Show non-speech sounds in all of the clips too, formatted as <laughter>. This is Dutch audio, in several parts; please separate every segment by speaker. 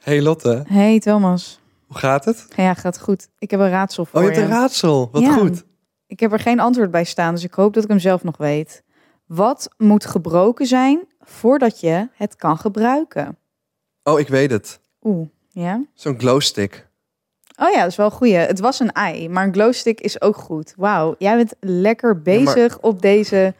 Speaker 1: Hey Lotte,
Speaker 2: Hey Thomas.
Speaker 1: hoe gaat het?
Speaker 2: Ja, gaat goed. Ik heb een raadsel voor
Speaker 1: Oh, je hebt een raadsel. Wat
Speaker 2: Ja.
Speaker 1: goed.
Speaker 2: Ik heb er geen antwoord bij staan, dus ik hoop dat ik hem zelf nog weet. Wat moet gebroken zijn voordat je het kan gebruiken?
Speaker 1: Oh, ik weet het.
Speaker 2: Oeh, ja.
Speaker 1: Zo'n glowstick.
Speaker 2: Oh ja, dat is wel een goeie. Het was een ei, maar een glowstick is ook goed. Wauw, jij bent lekker bezig op deze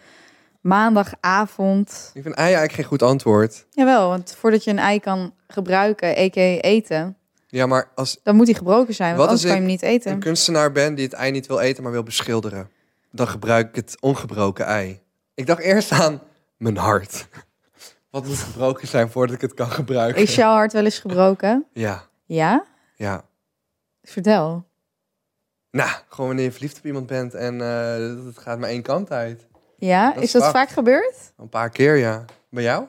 Speaker 2: maandagavond.
Speaker 1: Ik vind ei eigenlijk geen goed antwoord.
Speaker 2: Jawel, want voordat je een ei kan gebruiken, a.k.a. eten,
Speaker 1: Ja, maar als
Speaker 2: dan moet die gebroken zijn, want
Speaker 1: Wat
Speaker 2: anders
Speaker 1: als
Speaker 2: kan je hem niet
Speaker 1: ik een
Speaker 2: eten.
Speaker 1: kunstenaar ben die het ei niet wil eten, maar wil beschilderen, dan gebruik ik het ongebroken ei. Ik dacht eerst aan mijn hart. <laughs> Wat moet gebroken zijn voordat ik het kan gebruiken?
Speaker 2: Is jouw hart wel eens gebroken?
Speaker 1: Ja,
Speaker 2: Ja?
Speaker 1: ja.
Speaker 2: Vertel.
Speaker 1: Nou, gewoon wanneer je verliefd op iemand bent en eh, het gaat maar één kant uit.
Speaker 2: Ja,
Speaker 1: Dat
Speaker 2: is
Speaker 1: is
Speaker 2: dat
Speaker 1: vaak.
Speaker 2: vaak gebeurd?
Speaker 1: Een paar keer, ja. Bij jou?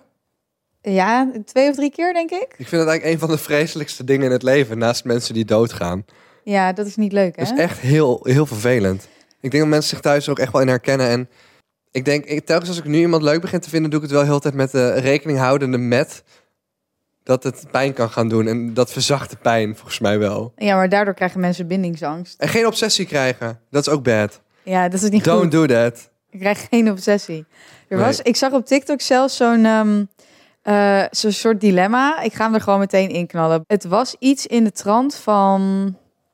Speaker 2: Ja, twee of drie keer denk ik.
Speaker 1: Ik vind het eigenlijk een van de vreselijkste dingen in het leven, naast mensen die doodgaan.
Speaker 2: Ja, dat is niet leuk hè?
Speaker 1: Dat is echt heel, heel vervelend. Ik denk dat mensen zich thuis ook echt wel in herkennen. En ik denk, ik, telkens als ik nu iemand leuk begin te vinden, doe ik het wel heel de tijd met de rekening houdende met dat het pijn kan gaan doen. En dat verzacht de pijn volgens mij wel.
Speaker 2: Ja, maar daardoor krijgen mensen bindingsangst.
Speaker 1: En geen obsessie krijgen. Dat is ook bad.
Speaker 2: Ja, dat is niet goed.
Speaker 1: Don't do that.
Speaker 2: Ik krijg geen obsessie. Er
Speaker 1: Nee.
Speaker 2: was, ik zag op TikTok zelfs zo'n ehm, eh, zo'n soort dilemma. Ik ga hem er gewoon meteen in knallen. Het was iets in de trant van...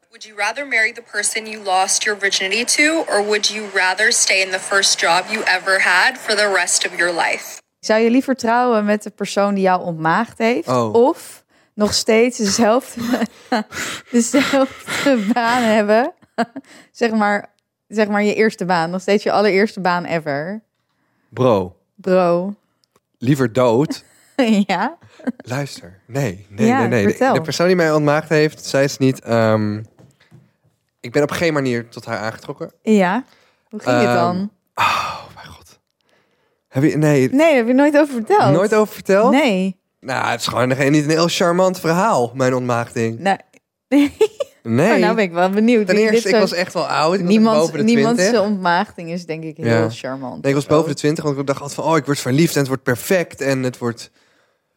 Speaker 3: Would you rather marry the person you lost your virginity to, or would you rather stay in the first job you ever had for the rest of your life?
Speaker 2: Zou je liever trouwen met de persoon die jou ontmaagd heeft?
Speaker 1: Oh.
Speaker 2: Of nog steeds dezelfde, <laughs> dezelfde baan hebben? <laughs> zeg, maar, zeg maar je eerste baan. Nog steeds je allereerste baan ever.
Speaker 1: Bro,
Speaker 2: Bro. <laughs>
Speaker 1: liever dood.
Speaker 2: ja?
Speaker 1: Luister. Nee, nee,
Speaker 2: Ja,
Speaker 1: nee. nee. De-
Speaker 2: vertel.
Speaker 1: De, persoon die mij ontmaagd heeft, zij is niet... ehm, ik ben op geen manier tot haar aangetrokken.
Speaker 2: Ja. Hoe ging het dan?
Speaker 1: Oh, mijn god. Heb je... Nee,
Speaker 2: Nee, daar heb je nooit over verteld.
Speaker 1: nooit over verteld?
Speaker 2: Nee.
Speaker 1: Nou, het is gewoon geen- niet een heel charmant verhaal, mijn ontmaagding.
Speaker 2: Nou, nee.
Speaker 1: Nee.
Speaker 2: Oh, nou ben ik wel benieuwd.
Speaker 1: Ten
Speaker 2: Dit- dit
Speaker 1: eerste, ik
Speaker 2: soort-
Speaker 1: was echt wel oud. Ik niemand, was
Speaker 2: niemand,
Speaker 1: boven de
Speaker 2: niemand
Speaker 1: 20.
Speaker 2: zijn ontmaagding is denk ik heel
Speaker 1: Ja.
Speaker 2: charmant.
Speaker 1: Nee, ik was boven de 20, want ik dacht altijd van... oh, ik word verliefd en het wordt perfect en het wordt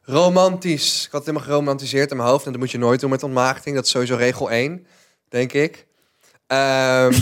Speaker 1: romantisch. Ik had het helemaal geromantiseerd in mijn hoofd... en dat moet je nooit doen met ontmaagding. Dat is sowieso regel 1, denk ik.
Speaker 2: <laughs>
Speaker 1: Ehm,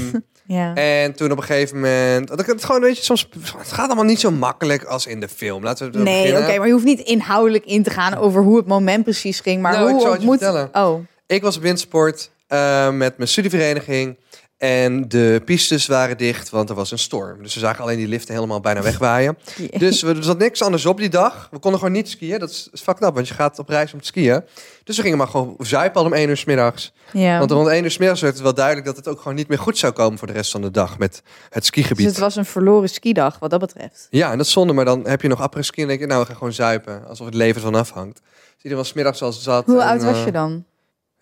Speaker 2: Ja.
Speaker 1: en toen op een gegeven moment... Dat ik het gewoon, weet je, soms... Het gaat allemaal niet zo makkelijk als in de film. Laten we het
Speaker 2: Nee, oké,
Speaker 1: beginnen.
Speaker 2: maar je hoeft niet inhoudelijk in te gaan over hoe het moment precies ging, maar
Speaker 1: Nou, ik
Speaker 2: hoe
Speaker 1: zal het je
Speaker 2: ontmoet...
Speaker 1: vertellen.
Speaker 2: Oh,
Speaker 1: Ik was op windsport eh, met mijn studievereniging. En de pistes waren dicht, want er was een storm. Dus we zagen alleen die liften helemaal bijna
Speaker 2: <laughs>
Speaker 1: wegwaaien.
Speaker 2: Jee.
Speaker 1: Dus we, er zat niks anders op die dag. We konden gewoon niet skiën. Dat is, is fucked up, want je gaat op reis om te skiën. Dus we gingen maar gewoon zuipen al om 1 uur s middags.
Speaker 2: ja.
Speaker 1: Want rond 1 uur s middags werd het wel duidelijk dat het ook gewoon niet meer goed zou komen voor de rest van de dag met het
Speaker 2: dus
Speaker 1: skigebied.
Speaker 2: het was een verloren skidag wat dat betreft.
Speaker 1: Ja, en dat is zonde, maar dan heb je nog après ski en denk je, nou, we gaan gewoon zuipen. Alsof het leven ervan afhangt. Dus iedereen was 's middags al zat.
Speaker 2: Hoe
Speaker 1: en,
Speaker 2: oud was
Speaker 1: eh,
Speaker 2: je dan?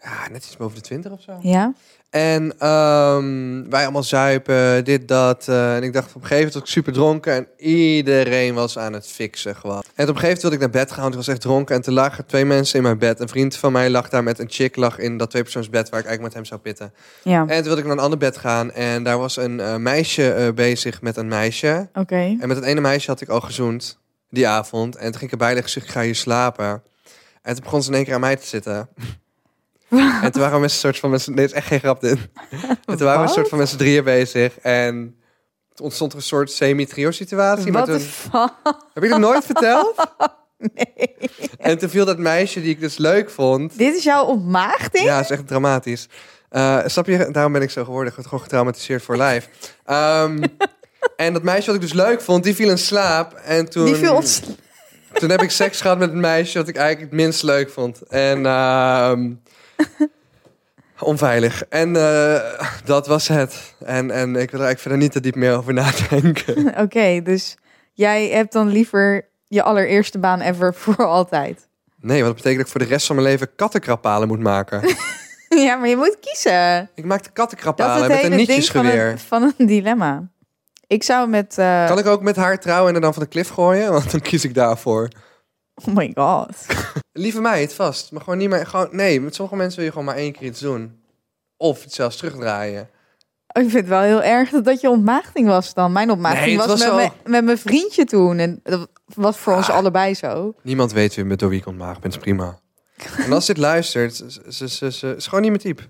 Speaker 1: Ja, net iets boven de 20 of zo.
Speaker 2: Ja?
Speaker 1: En ehm, wij allemaal zuipen, dit, dat. eh, en ik dacht op een gegeven moment was ik super dronken. En iedereen was aan het fixen gewoon. En op een gegeven moment wilde ik naar bed gaan, want ik was echt dronken. En toen lagen twee mensen in mijn bed. Een vriend van mij lag daar met een chick, lag in dat tweepersoonsbed waar ik eigenlijk met hem zou pitten.
Speaker 2: Ja,
Speaker 1: En toen wilde ik naar een ander bed gaan. En daar was een eh, meisje eh, bezig met een meisje.
Speaker 2: oké.
Speaker 1: En met dat ene meisje had ik al gezoend die avond. En toen ging ik erbij liggen, zeg ik ga hier slapen. En toen begon ze in één keer aan mij te
Speaker 2: <laughs>
Speaker 1: zitten. en toen waren we met een soort van mensen... Nee, is echt geen grap dit. en toen waren we een
Speaker 2: Wat?
Speaker 1: soort van mensen drieën bezig. En toen ontstond er een soort semi-trio situatie. Maar
Speaker 2: Wat de
Speaker 1: toen,
Speaker 2: fuck?
Speaker 1: heb ik dat nooit verteld?
Speaker 2: <laughs>
Speaker 1: nee. En toen viel dat meisje die ik dus leuk vond...
Speaker 2: Dit is jouw ontmaagding?
Speaker 1: Ja, is echt dramatisch. Eh, snap je? Daarom ben ik zo geworden. Ik word gewoon getraumatiseerd voor lijf.
Speaker 2: <laughs>
Speaker 1: Ehm, en dat meisje wat ik dus leuk vond, die viel in slaap. En toen,
Speaker 2: Die viel ons...
Speaker 1: toen heb ik seks gehad met een meisje wat ik eigenlijk het minst leuk vond. En ehm, <laughs> onveilig. En eh, dat was het. En, en ik wil er eigenlijk verder niet te diep meer over <laughs> nadenken.
Speaker 2: <laughs> Oké, dus jij hebt dan liever je allereerste baan ever <laughs> voor altijd.
Speaker 1: Nee, want dat betekent dat ik voor de rest van mijn leven kattenkrapalen moet maken.
Speaker 2: ja, maar je moet kiezen.
Speaker 1: Ik maakte
Speaker 2: Dat is
Speaker 1: kattenkrapalen
Speaker 2: het
Speaker 1: Ah, met een
Speaker 2: hele ding van
Speaker 1: nietjesgeweer.
Speaker 2: een, van een dilemma. Ik zou met... eh,
Speaker 1: Kan ik ook met haar trouwen en er dan van de cliff gooien? Want dan kies ik daarvoor.
Speaker 2: Oh my god.
Speaker 1: Lieve meid, vast. Maar gewoon niet meer... Gewoon, nee, met sommige mensen wil je gewoon maar één keer iets doen. Of het zelfs terugdraaien.
Speaker 2: Oh, Ik vind het wel heel erg dat dat je ontmaagding was dan. Mijn ontmaagding
Speaker 1: Nee, het
Speaker 2: was,
Speaker 1: was
Speaker 2: met,
Speaker 1: wel- Ah.
Speaker 2: mijn, met mijn vriendje toen. En dat was voor ons allebei zo.
Speaker 1: Niemand weet wie, door wie ik ontmaagd ben. is prima. En als dit luistert, ze, ze, ze, ze is gewoon niet mijn type.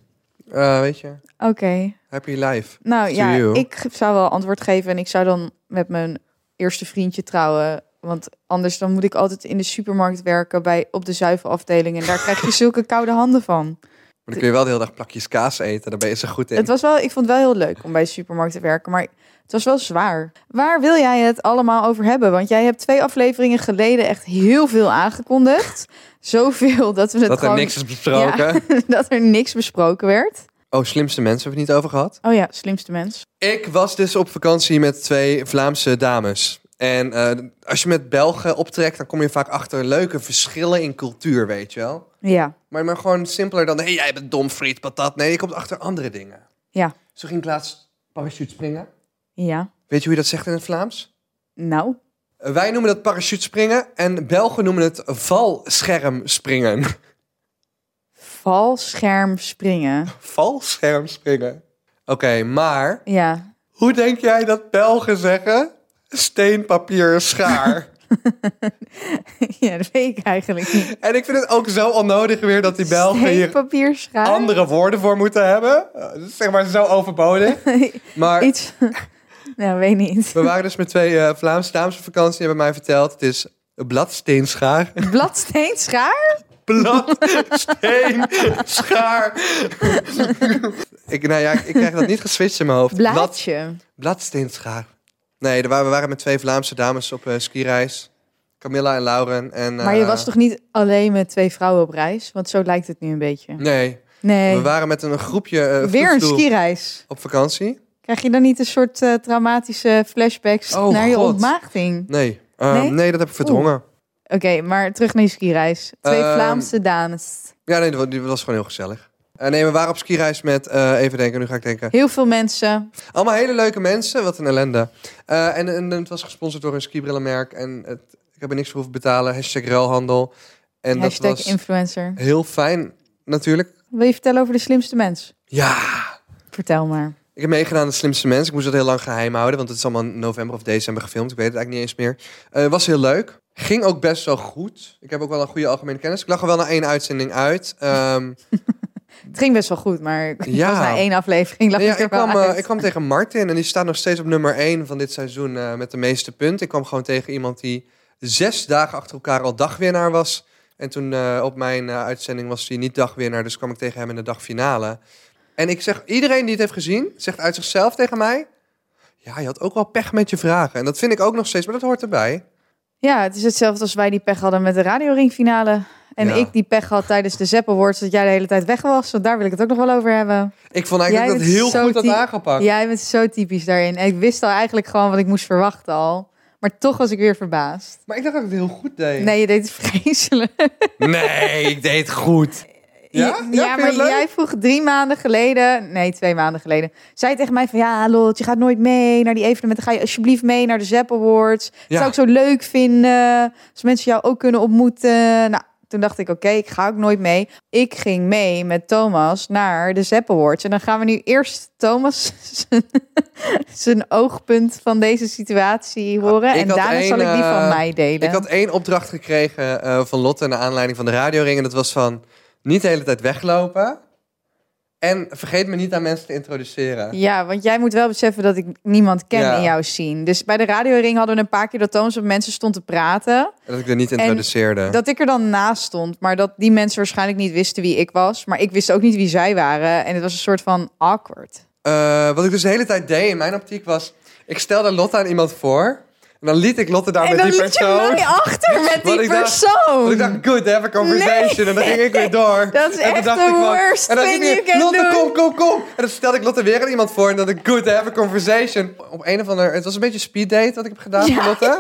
Speaker 1: Eh, weet je,
Speaker 2: Oké.
Speaker 1: happy life.
Speaker 2: Nou
Speaker 1: To
Speaker 2: ja,
Speaker 1: you.
Speaker 2: ik ge- zou wel antwoord geven en ik zou dan met mijn eerste vriendje trouwen. Want anders dan moet ik altijd in de supermarkt werken bij, op de zuivelafdeling. En daar krijg
Speaker 1: <laughs>
Speaker 2: je zulke koude handen van.
Speaker 1: Maar dan kun je wel de hele dag plakjes kaas eten. Daar ben je zo goed in.
Speaker 2: Het was wel, ik vond het wel heel leuk om bij de supermarkt te werken, maar het was wel zwaar. Waar wil jij het allemaal over hebben? Want jij hebt twee afleveringen geleden echt heel veel aangekondigd. <laughs> Zoveel dat we het
Speaker 1: dat er
Speaker 2: gewoon...
Speaker 1: niks is besproken.
Speaker 2: <laughs> dat er niks besproken werd.
Speaker 1: Oh, slimste mensen hebben we het niet over gehad.
Speaker 2: Oh ja, slimste mens.
Speaker 1: Ik was dus op vakantie met twee Vlaamse dames. En eh, als je met Belgen optrekt, dan kom je vaak achter leuke verschillen in cultuur, weet je wel.
Speaker 2: Ja,
Speaker 1: Maar, maar gewoon simpeler dan, hey, jij bent dom, friet, patat. Nee, je komt achter andere dingen.
Speaker 2: Ja.
Speaker 1: Zo ging ik laatst parachute springen.
Speaker 2: ja.
Speaker 1: Weet je hoe je dat zegt in het Vlaams?
Speaker 2: Nou,
Speaker 1: Eh, Wij noemen dat parachute springen en Belgen noemen het valscherm springen. <laughs>
Speaker 2: valscherm springen.
Speaker 1: valscherm springen. Oké, maar
Speaker 2: Ja, <laughs>
Speaker 1: hoe denk jij dat Belgen zeggen? Steen, papier, schaar.
Speaker 2: ja dat weet ik eigenlijk niet.
Speaker 1: En ik vind het ook zo onnodig weer dat die Belgen
Speaker 2: Steen,
Speaker 1: hier
Speaker 2: papier, schaar.
Speaker 1: andere woorden voor moeten hebben. Eh, dat is zeg maar zo overbodig. Maar
Speaker 2: <laughs> Iets. <laughs> nou, weet
Speaker 1: <laughs>
Speaker 2: niet.
Speaker 1: we waren dus met twee eh, Vlaamse dames op vakantie. Die hebben mij verteld, het is
Speaker 2: <laughs>
Speaker 1: bladsteenschaar.
Speaker 2: Bladsteen, schaar?
Speaker 1: Bladsteenschaar. ik, nou ja, ik krijg dat niet geswitcht in mijn hoofd. Blad,
Speaker 2: Blaadje.
Speaker 1: bladsteenschaar. Nee, er waren, we waren met twee Vlaamse dames op eh skireis. Camilla en Lauren. En,
Speaker 2: Maar je
Speaker 1: eh,
Speaker 2: was toch niet alleen met twee vrouwen op reis? Want zo lijkt het nu een beetje.
Speaker 1: Nee, we
Speaker 2: Nee,
Speaker 1: waren met een groepje eh,
Speaker 2: weer een
Speaker 1: vloedvloer
Speaker 2: skireis.
Speaker 1: op vakantie.
Speaker 2: Krijg je dan niet een soort eh, traumatische flashbacks
Speaker 1: Oh,
Speaker 2: naar je
Speaker 1: God.
Speaker 2: ontmaagding?
Speaker 1: Nee. Ehm,
Speaker 2: Nee?
Speaker 1: nee? dat heb ik verdrongen.
Speaker 2: Oké, maar terug naar je skireis. Twee
Speaker 1: Ehm,
Speaker 2: Vlaamse dames.
Speaker 1: Ja, nee, dat wa- die was gewoon heel gezellig. Eh, nee, we waren op skireis met, eh, even denken, nu ga ik denken.
Speaker 2: Heel veel mensen.
Speaker 1: Allemaal hele leuke mensen, wat een ellende. Eh, en, en het was gesponsord door een skibrillenmerk. En het, ik heb er niks voor hoeven betalen. Hashtag ruilhandel. En
Speaker 2: Hashtag
Speaker 1: dat was
Speaker 2: influencer.
Speaker 1: heel fijn, natuurlijk.
Speaker 2: Wil je vertellen over de slimste mens?
Speaker 1: Ja,
Speaker 2: Vertel maar.
Speaker 1: ik heb meegedaan aan de slimste mens. Ik moest dat heel lang geheim houden, want het is allemaal in november of december gefilmd. Ik weet het eigenlijk niet eens meer. Eh was heel leuk. Ging ook best wel goed. Ik heb ook wel een goede algemene kennis. Ik lag er wel na één uitzending uit. Ehm
Speaker 2: Het ging best wel goed, maar <laughs>
Speaker 1: Ja.
Speaker 2: pas na één aflevering lag
Speaker 1: Nee, ja,
Speaker 2: ik er
Speaker 1: ik, kwam,
Speaker 2: wel
Speaker 1: eh,
Speaker 2: uit.
Speaker 1: ik kwam tegen Martin en die staat nog steeds op nummer 1 van dit seizoen eh, met de meeste punten. Ik kwam gewoon tegen iemand die zes dagen achter elkaar al dagwinnaar was. En toen eh, op mijn eh, uitzending was hij niet dagwinnaar, dus kwam ik tegen hem in de dagfinale. En ik zeg, iedereen die het heeft gezien, zegt uit zichzelf tegen mij... Ja, je had ook wel pech met je vragen. En dat vind ik ook nog steeds, maar dat hoort erbij.
Speaker 2: Ja, het is hetzelfde als wij die pech hadden met de radioringfinale. En
Speaker 1: Ja.
Speaker 2: ik die pech had tijdens de Zepp Awards dat jij de hele tijd weg was. Want daar wil ik het ook nog wel over hebben.
Speaker 1: Ik vond eigenlijk
Speaker 2: Jij
Speaker 1: dat
Speaker 2: bent
Speaker 1: heel
Speaker 2: zo
Speaker 1: goed had
Speaker 2: typ-
Speaker 1: aangepakt.
Speaker 2: Jij bent zo typisch daarin. En ik wist al eigenlijk gewoon wat ik moest verwachten al. Maar toch was ik weer verbaasd.
Speaker 1: Maar ik dacht dat ik het heel goed deed.
Speaker 2: Nee, je deed het <laughs> vreselijk.
Speaker 1: Nee, ik deed het goed. Ja? Ja, vind je
Speaker 2: maar
Speaker 1: het leuk?
Speaker 2: jij vroeg drie maanden geleden, nee, twee maanden geleden, zei tegen mij van ja, Lot, je gaat nooit mee naar die evenementen. Ga je alsjeblieft mee naar de Zapp Awards. Dat
Speaker 1: Ja.
Speaker 2: zou ik zo leuk vinden. Als mensen jou ook kunnen ontmoeten. Nou, toen dacht ik, oké, ik ga ook nooit mee. Ik ging mee met Thomas naar de Zapp Awards. En dan gaan we nu eerst Thomas <laughs> zijn- zijn oogpunt van deze situatie horen.
Speaker 1: ik
Speaker 2: en
Speaker 1: had
Speaker 2: daarna
Speaker 1: één,
Speaker 2: zal ik die van
Speaker 1: eh,
Speaker 2: mij delen.
Speaker 1: Ik had één opdracht gekregen eh, van Lotte naar aanleiding van de radioring. En dat was van niet de hele tijd weglopen. En vergeet me niet aan mensen te introduceren.
Speaker 2: Ja, want jij moet wel beseffen dat ik niemand ken
Speaker 1: Ja.
Speaker 2: in jouw scene. Dus bij de radioring hadden we een paar keer dat Thomas op mensen stond te praten.
Speaker 1: En dat ik er niet introduceerde.
Speaker 2: Dat ik er dan naast stond. Maar dat die mensen waarschijnlijk niet wisten wie ik was. Maar ik wist ook niet wie zij waren. En het was een soort van awkward.
Speaker 1: Eh, wat ik dus de hele tijd deed in mijn optiek was... Ik stelde Lotte aan iemand voor. En dan liet ik Lotte daar
Speaker 2: en
Speaker 1: met
Speaker 2: dan
Speaker 1: die
Speaker 2: liet je
Speaker 1: persoon.
Speaker 2: mij achter met
Speaker 1: Want
Speaker 2: die
Speaker 1: ik dacht-
Speaker 2: persoon.
Speaker 1: Want ik dacht, good, have a conversation. En dan ging ik weer door.
Speaker 2: <laughs> Dat is
Speaker 1: en toen
Speaker 2: echt
Speaker 1: dacht
Speaker 2: the
Speaker 1: ik van-
Speaker 2: worst
Speaker 1: en dan
Speaker 2: thing
Speaker 1: ging ik,
Speaker 2: you can
Speaker 1: Lotte,
Speaker 2: do.
Speaker 1: kom, kom, kom. En dan stelde ik Lotte weer aan iemand voor. En dan dacht ik, good, have a conversation. Op een of ander... Het was een beetje speed date wat ik heb gedaan
Speaker 2: <laughs> Ja,
Speaker 1: voor Lotte.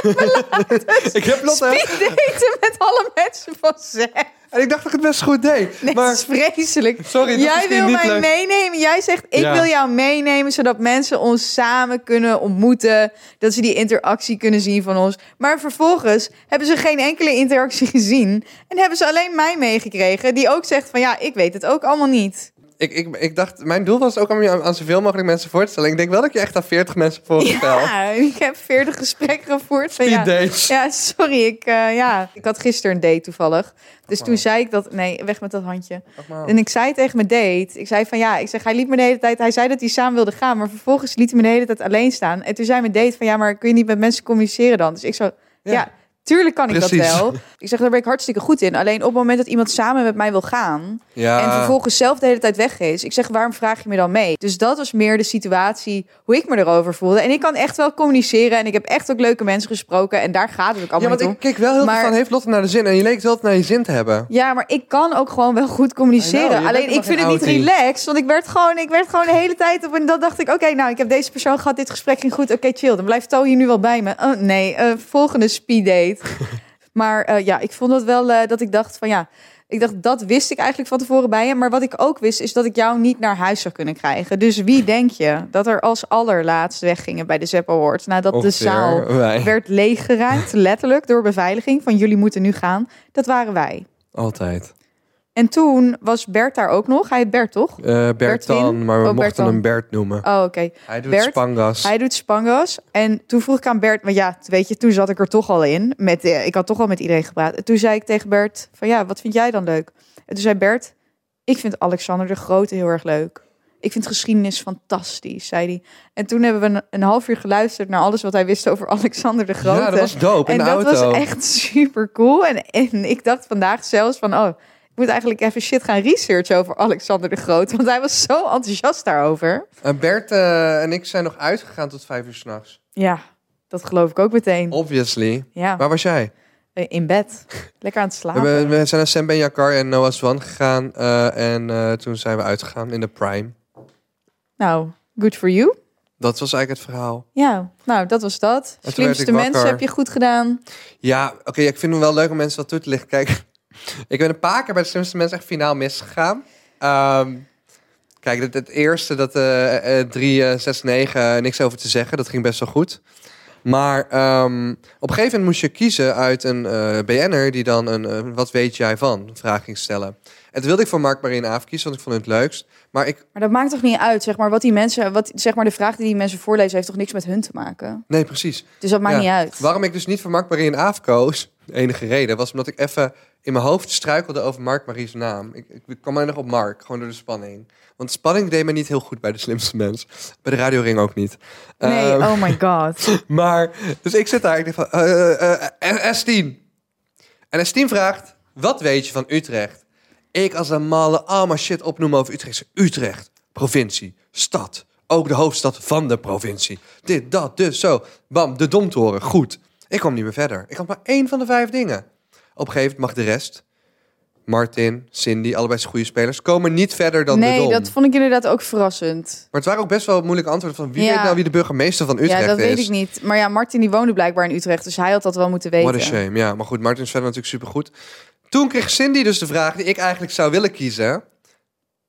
Speaker 1: <laughs> ik heb Lotte...
Speaker 2: Speed daten met alle mensen van Zep.
Speaker 1: En ik dacht dat ik het best goed deed.
Speaker 2: Nee,
Speaker 1: maar
Speaker 2: het is vreselijk.
Speaker 1: Sorry, dat
Speaker 2: Jij
Speaker 1: is
Speaker 2: wil
Speaker 1: niet
Speaker 2: mij
Speaker 1: leuk.
Speaker 2: meenemen. Jij zegt, ik
Speaker 1: Ja.
Speaker 2: wil jou meenemen... zodat mensen ons samen kunnen ontmoeten. Dat ze die interactie kunnen zien van ons. Maar vervolgens hebben ze geen enkele <laughs> interactie gezien. En hebben ze alleen mij meegekregen... die ook zegt van, ja, ik weet het ook allemaal niet.
Speaker 1: Ik, ik, ik dacht, mijn doel was ook om je aan, aan zoveel mogelijk mensen voor te stellen. Ik denk wel dat ik je echt aan 40 mensen voorstel.
Speaker 2: Ja, ik heb 40 gesprekken gevoerd. Van, ja,
Speaker 1: dates.
Speaker 2: ja, sorry. Ik, eh, ja. ik had gisteren een date toevallig. Dus
Speaker 1: Oh.
Speaker 2: toen zei ik dat... Nee, weg met dat handje.
Speaker 1: Ach, man.
Speaker 2: En ik zei tegen mijn date, ik zei van ja, ik zeg, hij liet me de hele tijd, hij zei dat hij samen wilde gaan, maar vervolgens liet hij me de hele tijd alleen staan. En toen zei mijn date van ja, maar kun je niet met mensen communiceren dan? Dus ik zo, ja,
Speaker 1: Ja.
Speaker 2: tuurlijk kan ik
Speaker 1: Precies.
Speaker 2: dat wel. Ik zeg, daar ben ik hartstikke goed in. Alleen op het moment dat iemand samen met mij wil gaan
Speaker 1: Ja.
Speaker 2: en vervolgens zelf de hele tijd weg is, ik zeg, waarom vraag je me dan mee? Dus dat was meer de situatie hoe ik me erover voelde. En ik kan echt wel communiceren en ik heb echt ook leuke mensen gesproken en daar gaat het ook
Speaker 1: ja,
Speaker 2: allemaal
Speaker 1: want
Speaker 2: niet om.
Speaker 1: ik keek wel heel veel
Speaker 2: Maar-
Speaker 1: van, heeft Lotte naar de zin? En je leek het wel naar je zin te hebben.
Speaker 2: Ja, maar ik kan ook gewoon wel goed
Speaker 1: I know,
Speaker 2: communiceren.
Speaker 1: je bent
Speaker 2: Alleen ik
Speaker 1: helemaal
Speaker 2: vind het
Speaker 1: geen
Speaker 2: niet
Speaker 1: outie.
Speaker 2: relaxed. Want ik werd, gewoon, ik werd gewoon de hele tijd op. En dan dacht ik, oké, nou, ik heb deze persoon gehad. Dit gesprek ging goed. Oké, chill. Dan blijft To hier nu wel bij me. Oh, nee, eh, volgende
Speaker 1: <laughs>
Speaker 2: speeddate. maar eh, ja, ik vond dat wel eh, dat ik dacht van ja... Ik dacht, dat wist ik eigenlijk van tevoren bij je. Maar wat ik ook wist, is dat ik jou niet naar huis zou kunnen krijgen. Dus wie denk je dat er als allerlaatst weggingen bij de Zepp Awards? Nadat
Speaker 1: Ongeveer.
Speaker 2: de
Speaker 1: <laughs>
Speaker 2: zaal
Speaker 1: Wij.
Speaker 2: werd leeggeruimd, letterlijk, door beveiliging. Van jullie moeten nu gaan. Dat waren wij.
Speaker 1: Altijd.
Speaker 2: En toen was Bert daar ook nog. Hij heet Bert, toch?
Speaker 1: Eh, Bert,
Speaker 2: Bert
Speaker 1: dan,
Speaker 2: Wien?
Speaker 1: maar we
Speaker 2: Oh, Bert
Speaker 1: mochten
Speaker 2: dan.
Speaker 1: hem Bert noemen.
Speaker 2: Oh, oké.
Speaker 1: Hij doet
Speaker 2: Bert,
Speaker 1: spangas.
Speaker 2: Hij doet spangas. En toen vroeg ik aan Bert... Want ja, weet je, toen zat ik er toch al in. Met, eh, ik had toch al met iedereen gepraat. En toen zei ik tegen Bert van... Ja, wat vind jij dan leuk? En toen zei Bert... Ik vind Alexander de Grote heel erg leuk. Ik vind geschiedenis fantastisch, zei hij. En toen hebben we een, een half uur geluisterd... naar alles wat hij wist over <laughs> Alexander de Grote.
Speaker 1: Ja, dat was dope.
Speaker 2: En
Speaker 1: In de
Speaker 2: dat
Speaker 1: auto.
Speaker 2: was echt <laughs> super cool. En, en ik dacht vandaag zelfs van, oh, ik moet eigenlijk even shit gaan researchen over Alexander de Groot. Want hij was zo enthousiast daarover.
Speaker 1: En Bert eh, en ik zijn nog uitgegaan tot vijf uur s'nachts.
Speaker 2: Ja, dat geloof ik ook meteen.
Speaker 1: Obviously.
Speaker 2: Ja,
Speaker 1: Waar was jij?
Speaker 2: eh, in bed. Lekker aan het
Speaker 1: We,
Speaker 2: slapen.
Speaker 1: hebben- we zijn naar Sam Benjakar en Noah Swan gegaan. eh, en eh, toen zijn we uitgegaan in de Prime.
Speaker 2: Nou, good for you.
Speaker 1: Dat was eigenlijk het verhaal.
Speaker 2: Ja, nou, dat was dat.
Speaker 1: werd
Speaker 2: Slimste
Speaker 1: ik wakker.
Speaker 2: mensen heb je goed gedaan.
Speaker 1: Ja, oké, ik vind het wel leuk om mensen wat toe te lichten. Kijk, <laughs> ik ben een paar keer bij de slimste mensen echt finaal misgegaan. Ehm, kijk, het, het eerste, dat eh eh, 3, eh, 6, 9, niks over te zeggen. Dat ging best wel goed. Maar ehm, op een gegeven moment moest je kiezen uit een eh, BN'er die dan een eh, wat weet jij van vraag ging stellen. En toen wilde ik voor Mark Marine Aaf kiezen, want ik vond het het leukst. Maar ik,
Speaker 2: Maar dat maakt toch niet uit, zeg maar. Wat die mensen, wat, zeg maar de vraag die die mensen voorlezen, heeft toch niks met hun te maken?
Speaker 1: nee, precies.
Speaker 2: Dus dat maakt
Speaker 1: Ja.
Speaker 2: niet uit.
Speaker 1: Waarom ik dus niet voor Mark Marie en Aaf koos, de enige reden, was omdat ik even in mijn hoofd struikelde over Mark Marie's naam. Ik, ik, kwam alleen nog op Mark, gewoon door de spanning. Want spanning deed me niet heel goed bij de slimste mens. Bij de radioring ook niet.
Speaker 2: Nee,
Speaker 1: Ehm,
Speaker 2: oh my
Speaker 1: <laughs>
Speaker 2: god.
Speaker 1: Maar, dus ik zit daar en ik denk van, eh, eh, eh, S10. En S10 vraagt, wat weet je van Utrecht? Ik als een malle allemaal shit opnoemen over Utrecht. Ik zeg, Utrecht, provincie, stad. Ook de hoofdstad van de provincie. Dit, dat, dus, zo. Bam, de domtoren, goed. Ik kwam niet meer verder. Ik had maar één van de vijf dingen. Op een gegeven moment mag de rest... Martin, Cindy, allebei zijn goede spelers... komen niet verder dan de
Speaker 2: Nee,
Speaker 1: dom.
Speaker 2: dat vond ik inderdaad ook verrassend.
Speaker 1: Maar het waren ook best wel moeilijke antwoorden... van wie
Speaker 2: Ja.
Speaker 1: weet nou wie de burgemeester van Utrecht
Speaker 2: ja, dat
Speaker 1: is.
Speaker 2: weet ik niet. Maar ja, Martin die woonde blijkbaar in Utrecht, dus hij had dat wel moeten weten.
Speaker 1: What a shame. Ja, maar goed, Martin is verder natuurlijk supergoed. Toen kreeg Cindy dus de vraag die ik eigenlijk zou willen kiezen.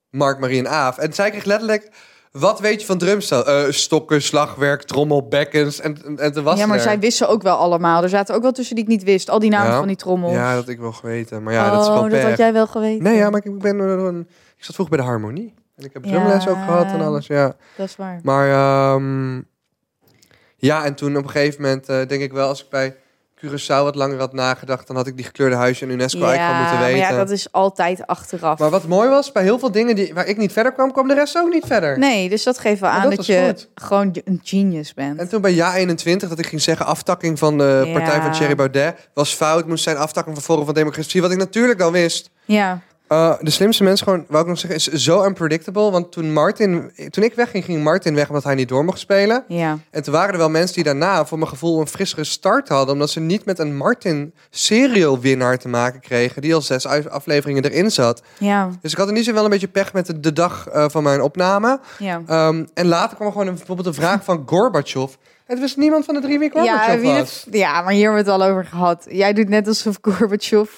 Speaker 1: Mark, Marie en Aaf. En zij kreeg letterlijk... Wat weet je van drumstel? Eh, stokken, slagwerk, trommel, bekkens. En, en, en toen was
Speaker 2: ja, maar
Speaker 1: er.
Speaker 2: zij wisten ook wel allemaal. Er zaten ook wel tussen die ik niet wist. Al die namen
Speaker 1: Ja.
Speaker 2: van die trommels.
Speaker 1: Ja, dat had ik wel geweten. Maar ja, dat is
Speaker 2: oh,
Speaker 1: gewoon
Speaker 2: dat had
Speaker 1: pech.
Speaker 2: jij wel geweten.
Speaker 1: Nee, ja, maar ik, ik ben... eh, een- Ik zat vroeg bij de harmonie. En ik heb
Speaker 2: Ja.
Speaker 1: drumles ook gehad en alles, ja.
Speaker 2: Dat is waar.
Speaker 1: Maar ehm, ja, en toen op een gegeven moment eh, denk ik wel... als ik bij Curaçao wat langer had nagedacht... dan had ik die gekleurde huisje en UNESCO eigenlijk wel moeten
Speaker 2: maar
Speaker 1: weten.
Speaker 2: ja, dat is altijd achteraf.
Speaker 1: Maar wat mooi was, bij heel veel dingen die, waar ik niet verder kwam, kwam de rest ook niet verder.
Speaker 2: Nee, dus dat geeft wel
Speaker 1: Maar
Speaker 2: aan
Speaker 1: dat
Speaker 2: dat,
Speaker 1: was
Speaker 2: je
Speaker 1: goed.
Speaker 2: gewoon een genius bent.
Speaker 1: En toen bij Ja 21, dat ik ging zeggen aftakking van de
Speaker 2: Ja.
Speaker 1: partij van Thierry Baudet, was fout, moest zijn aftakking van Forum van Democratie, wat ik natuurlijk dan wist.
Speaker 2: Ja,
Speaker 1: Eh, de slimste mens, gewoon, wou ik nog zeggen, is zo unpredictable. Want toen, Martin, toen ik wegging, ging Martin weg omdat hij niet door mocht spelen.
Speaker 2: ja.
Speaker 1: En toen waren er wel mensen die daarna, voor mijn gevoel, een frissere start hadden. Omdat ze niet met een Martin-serial-winnaar te maken kregen, die al zes uit- afleveringen erin zat.
Speaker 2: Ja,
Speaker 1: Dus ik had in die zin wel een beetje pech met de, de dag eh, van mijn opname.
Speaker 2: ja.
Speaker 1: Ehm, en later kwam er gewoon een, bijvoorbeeld een vraag van Gorbachev. Het wist niemand van de drie wie Gorbachev
Speaker 2: Ja, wie
Speaker 1: was.
Speaker 2: het- ja, maar hier hebben we het al over gehad. Jij doet net alsof Gorbachev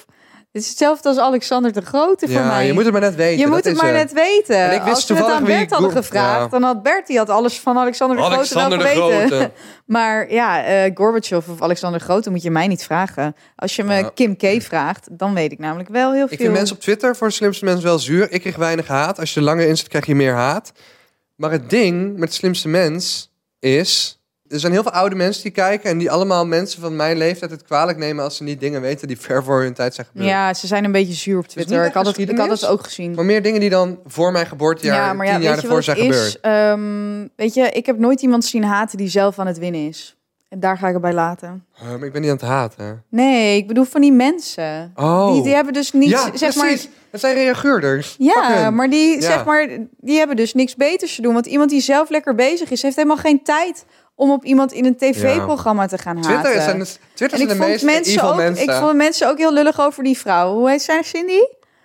Speaker 2: Dit is hetzelfde als Alexander de Grote voor
Speaker 1: Ja,
Speaker 2: mij.
Speaker 1: je moet het maar net weten.
Speaker 2: Je
Speaker 1: dat
Speaker 2: moet het
Speaker 1: is
Speaker 2: maar
Speaker 1: hem.
Speaker 2: net weten.
Speaker 1: En ik wist
Speaker 2: Als we het
Speaker 1: toevallig
Speaker 2: aan
Speaker 1: wie
Speaker 2: Bert
Speaker 1: ik
Speaker 2: hadden
Speaker 1: Go-
Speaker 2: gevraagd,
Speaker 1: ja.
Speaker 2: dan had Bert die had alles van Alexander de
Speaker 1: Alexander
Speaker 2: Grote
Speaker 1: de
Speaker 2: wel geweten.
Speaker 1: Grote.
Speaker 2: <laughs> Maar ja, eh Gorbachev of Alexander de Grote moet je mij niet vragen. Als je me
Speaker 1: Ja.
Speaker 2: Kim K vraagt, dan weet ik namelijk wel heel veel.
Speaker 1: Ik vind mensen op Twitter voor de slimste mensen wel zuur. Ik kreeg weinig haat. Als je er langer in zit, krijg je meer haat. Maar het ding met de slimste mens is... Er zijn heel veel oude mensen die kijken... en die allemaal mensen van mijn leeftijd het kwalijk nemen... als ze niet dingen weten die ver voor hun tijd zijn gebeurd.
Speaker 2: Ja, ze zijn een beetje zuur op
Speaker 1: niet
Speaker 2: Twitter.
Speaker 1: echt
Speaker 2: Ik had, het, ik had
Speaker 1: geschiedenis.
Speaker 2: het ook gezien.
Speaker 1: Maar meer dingen die dan voor mijn geboortejaar... tien jaar daarvoor zijn gebeurd.
Speaker 2: Ehm, weet je, ik heb nooit iemand zien haten die zelf aan het winnen is. En daar ga ik het bij laten.
Speaker 1: Eh, maar ik ben niet aan het haten.
Speaker 2: Nee, ik bedoel van die mensen.
Speaker 1: Oh.
Speaker 2: Die, die hebben dus niet,
Speaker 1: ja,
Speaker 2: zeg maar,
Speaker 1: precies. Dat zijn reageurders. Fuck
Speaker 2: Ja,
Speaker 1: hun.
Speaker 2: maar die,
Speaker 1: Ja.
Speaker 2: Zeg maar die hebben dus niks beters te doen. Want iemand die zelf lekker bezig is, heeft helemaal geen tijd om op iemand in een tv-programma te gaan haten.
Speaker 1: Twitter zijn, de- Twitter
Speaker 2: en
Speaker 1: zijn
Speaker 2: ik
Speaker 1: de
Speaker 2: vond,
Speaker 1: meeste
Speaker 2: mensen
Speaker 1: evil
Speaker 2: ook,
Speaker 1: mensen.
Speaker 2: ik vond mensen ook heel lullig over die vrouw. Hoe heet zij, Cindy?